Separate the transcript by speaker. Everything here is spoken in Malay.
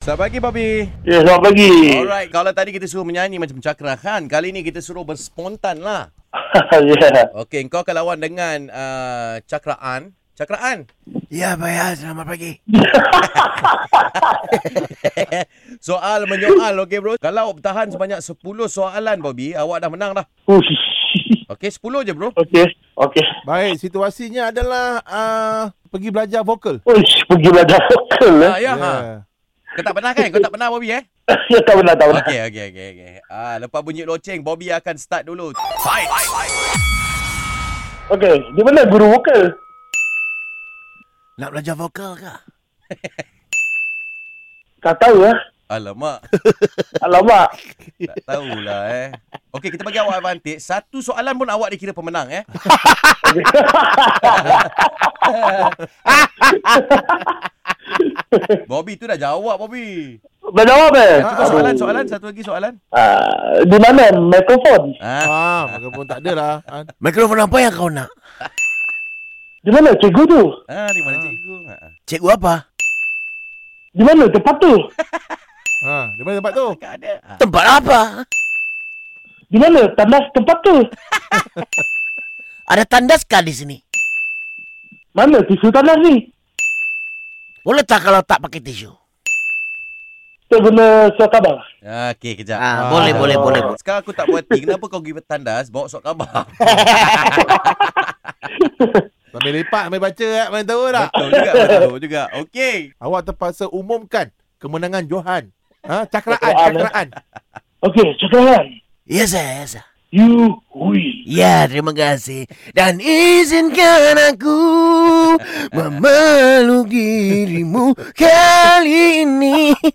Speaker 1: Selamat pagi, Bobby.
Speaker 2: Ya, selamat pagi.
Speaker 1: Eh. Alright, kalau tadi kita suruh menyanyi macam cakra kan, kali ni kita suruh berspontan lah.
Speaker 2: ya.
Speaker 1: Okay, kau akan lawan dengan uh, cakraan. Cakraan.
Speaker 3: Ya, Bayar. Selamat pagi.
Speaker 1: soal menyoal, okay bro. Kalau bertahan sebanyak 10 soalan, Bobby, awak dah menang dah.
Speaker 2: Ush.
Speaker 1: Okay, 10 je bro.
Speaker 2: Okey. Okey.
Speaker 3: Baik, situasinya adalah uh, pergi belajar vokal.
Speaker 2: Ush, pergi belajar vokal eh.
Speaker 1: Ah, ya, ha. Kau tak pernah kan? Kau tak pernah, Bobby eh?
Speaker 2: Ya, tak benar, tak benar.
Speaker 1: Okay, okay, okay. okay. Ah, lepas bunyi loceng, Bobby akan start dulu.
Speaker 2: Okey, di mana guru vokal?
Speaker 3: Nak belajar vokal ke?
Speaker 2: Tak tahu ya.
Speaker 1: Alamak,
Speaker 2: Alamak.
Speaker 1: tak tahulah eh. Okay, kita bagi awak advantage. Satu soalan pun awak dikira pemenang eh. Bobby tu dah jawab, Bobby.
Speaker 2: Berjawab eh.
Speaker 1: Cukup Ah, soalan, soalan. Satu lagi soalan.
Speaker 2: Ah, di mana mikrofon?
Speaker 1: Ah,
Speaker 3: Ah, maka pun tak adalah. Ah,
Speaker 4: Mikrofon apa yang kau nak?
Speaker 2: Di mana cikgu tu?
Speaker 1: ah di mana cikgu? Ah.
Speaker 4: Cikgu apa?
Speaker 2: Di mana tempat tu?
Speaker 3: ha, di mana tempat tu?
Speaker 1: Tak ada. Ah.
Speaker 4: Tempat apa?
Speaker 2: Di mana tandas tempat tu?
Speaker 4: Ada tandas kah di sini?
Speaker 2: Mana tisu tandas ni?
Speaker 4: Boleh tak kalau tak pakai tisu?
Speaker 2: Tak guna surat khabar.
Speaker 1: Ah, Okey, kejap.
Speaker 4: Ah, boleh, boleh, boleh, boleh.
Speaker 1: Sekarang aku tak buat ting. Kenapa kau pergi tandas? Bawa surat khabar.
Speaker 3: Sambil lepak, sambil baca, eh, mana tahu tak?
Speaker 1: betul juga, betul juga. Okey.
Speaker 3: Awak terpaksa umumkan kemenangan Johan. Ha, cakraan,
Speaker 2: Cakraan, eh.
Speaker 3: cakraan.
Speaker 2: Okey, cakaran.
Speaker 4: Ya, saya, ya, saya.
Speaker 2: You win.
Speaker 4: Ya, terima kasih. Dan izinkan aku memeluk dirimu kali ini.